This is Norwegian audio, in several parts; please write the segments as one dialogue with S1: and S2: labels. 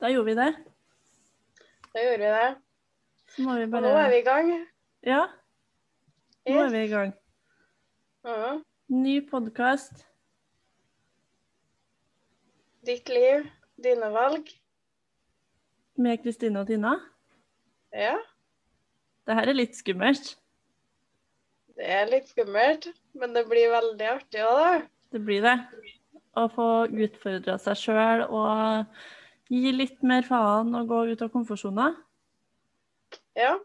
S1: Da gjorde vi det.
S2: Da gjorde vi det.
S1: Så må vi
S2: Og
S1: bare
S2: nå er vi i gang.
S1: Ja, nå er
S2: Yes.
S1: vi i gang.
S2: Mhm.
S1: Ny podkast.
S2: Ditt liv, dine valg.
S1: med Kristine og Tina.
S2: Ja,
S1: Det her er litt skummelt.
S2: det er litt skummelt, men det blir veldig artig òg, da.
S1: Det blir det. Å få utfordra seg sjøl og gi litt mer faen og gå ut av komfortsona.
S2: Ja.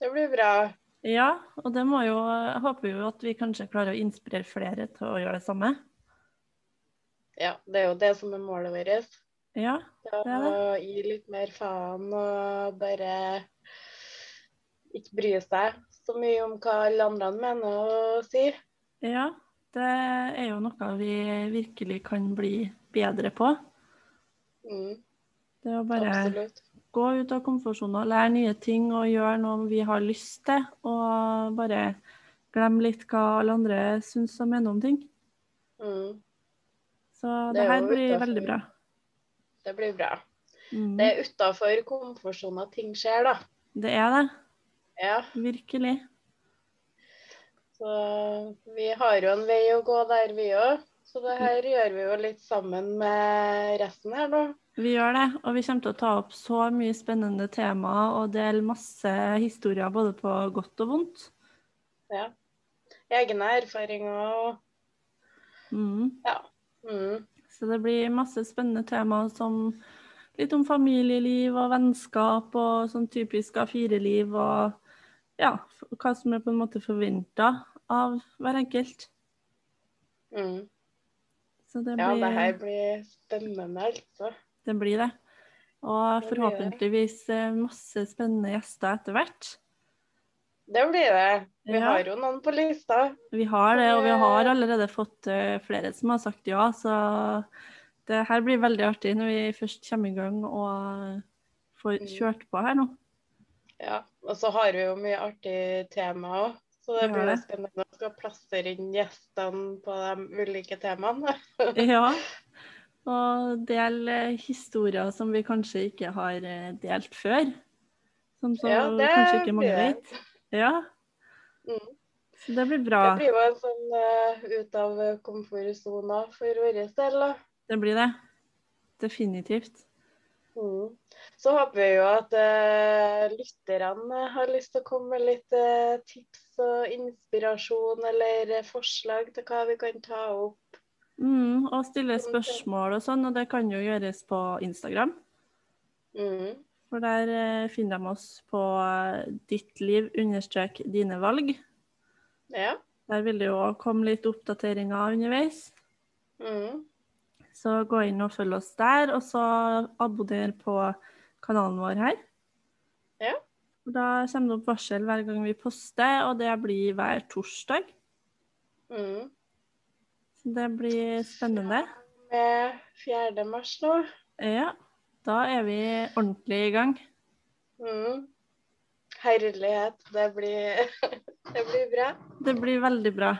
S2: Det blir bra.
S1: Ja, og det må jo Jeg håper jo at vi kanskje klarer å inspirere flere til å gjøre det samme.
S2: Ja, det er jo det som er målet vårt.
S1: Ja.
S2: Det er
S1: Det er det.
S2: Å gi litt mer faen og bare ikke bry seg så mye om hva alle andre mener og sier.
S1: ja. Det er jo noe vi virkelig kan bli bedre på.
S2: Mm,
S1: Det å bare
S2: absolutt.
S1: gå ut av komfortsona, lære nye ting og gjøre noe vi har lyst til. Og bare glemme litt hva alle andre syns og mener om ting.
S2: Mm,
S1: Så
S2: Det
S1: det,
S2: er
S1: her
S2: jo
S1: blir
S2: utenfor.
S1: veldig bra.
S2: det blir bra.
S1: Mm.
S2: Det
S1: Det...
S2: er utafor komfortsona ting skjer, da.
S1: er det.
S2: Ja,
S1: Virkelig.
S2: så vi har jo en vei å gå der, vi òg. Så det her gjør vi jo litt sammen med resten her nå.
S1: Vi gjør det. Og vi kommer til å ta opp så mye spennende temaer og dele masse historier både på godt og vondt.
S2: Ja. Egne erfaringer og
S1: Mm.
S2: ja. Mm.
S1: Så det blir masse spennende temaer som litt om familieliv og vennskap og sånn typisk A4-liv og ja, f- hva som er på en måte forventa av hver enkelt.
S2: Mm.
S1: Så det
S2: Ja,
S1: blir
S2: det her blir spennende, altså.
S1: det. Blir det. Og
S2: Det blir det.
S1: forhåpentligvis eh, masse spennende gjester etter hvert.
S2: Det blir det. Vi
S1: Ja.
S2: har jo noen på lista.
S1: Vi har det, og vi har allerede fått eh, flere som har sagt ja, så det her blir veldig artig når vi først kommer i gang og får
S2: Mm.
S1: kjørt på her nå.
S2: Ja. Og så har vi jo mye artig tema òg. Så det
S1: Vi har
S2: blir jo
S1: det.
S2: spennende å skal plassere inn gjestene på de ulike temaene.
S1: Ja. Og del eh, historier som vi kanskje ikke har eh, delt før. Som så
S2: Ja, det
S1: kanskje ikke mange
S2: blir det.
S1: vet. Ja.
S2: Mm.
S1: Så det blir bra.
S2: Det blir jo en sånn eh, ut av komfortsona for vår del, da.
S1: Det blir det. Definitivt.
S2: Mm. Så håper vi jo at eh, lytterne har lyst til å komme med litt eh, tips og inspirasjon eller eh, forslag til hva vi kan ta opp.
S1: Mm, og stille spørsmål og sånn, og det kan jo gjøres på Instagram.
S2: Mm.
S1: For der eh, finner de oss på eh, ditt liv understrek dine valg.
S2: Ja.
S1: Der vil det jo komme litt oppdateringer underveis.
S2: Mm.
S1: Så gå inn og følg oss der, og så abonner på kanalen vår her.
S2: Ja.
S1: Og Da kommer det opp varsel hver gang vi poster, og det blir hver torsdag.
S2: Mm.
S1: Så det blir spennende.
S2: med 4. mars nå.
S1: Ja, da er vi ordentlig i gang.
S2: Mm. Herlighet, det blir, det blir bra.
S1: Det blir veldig bra.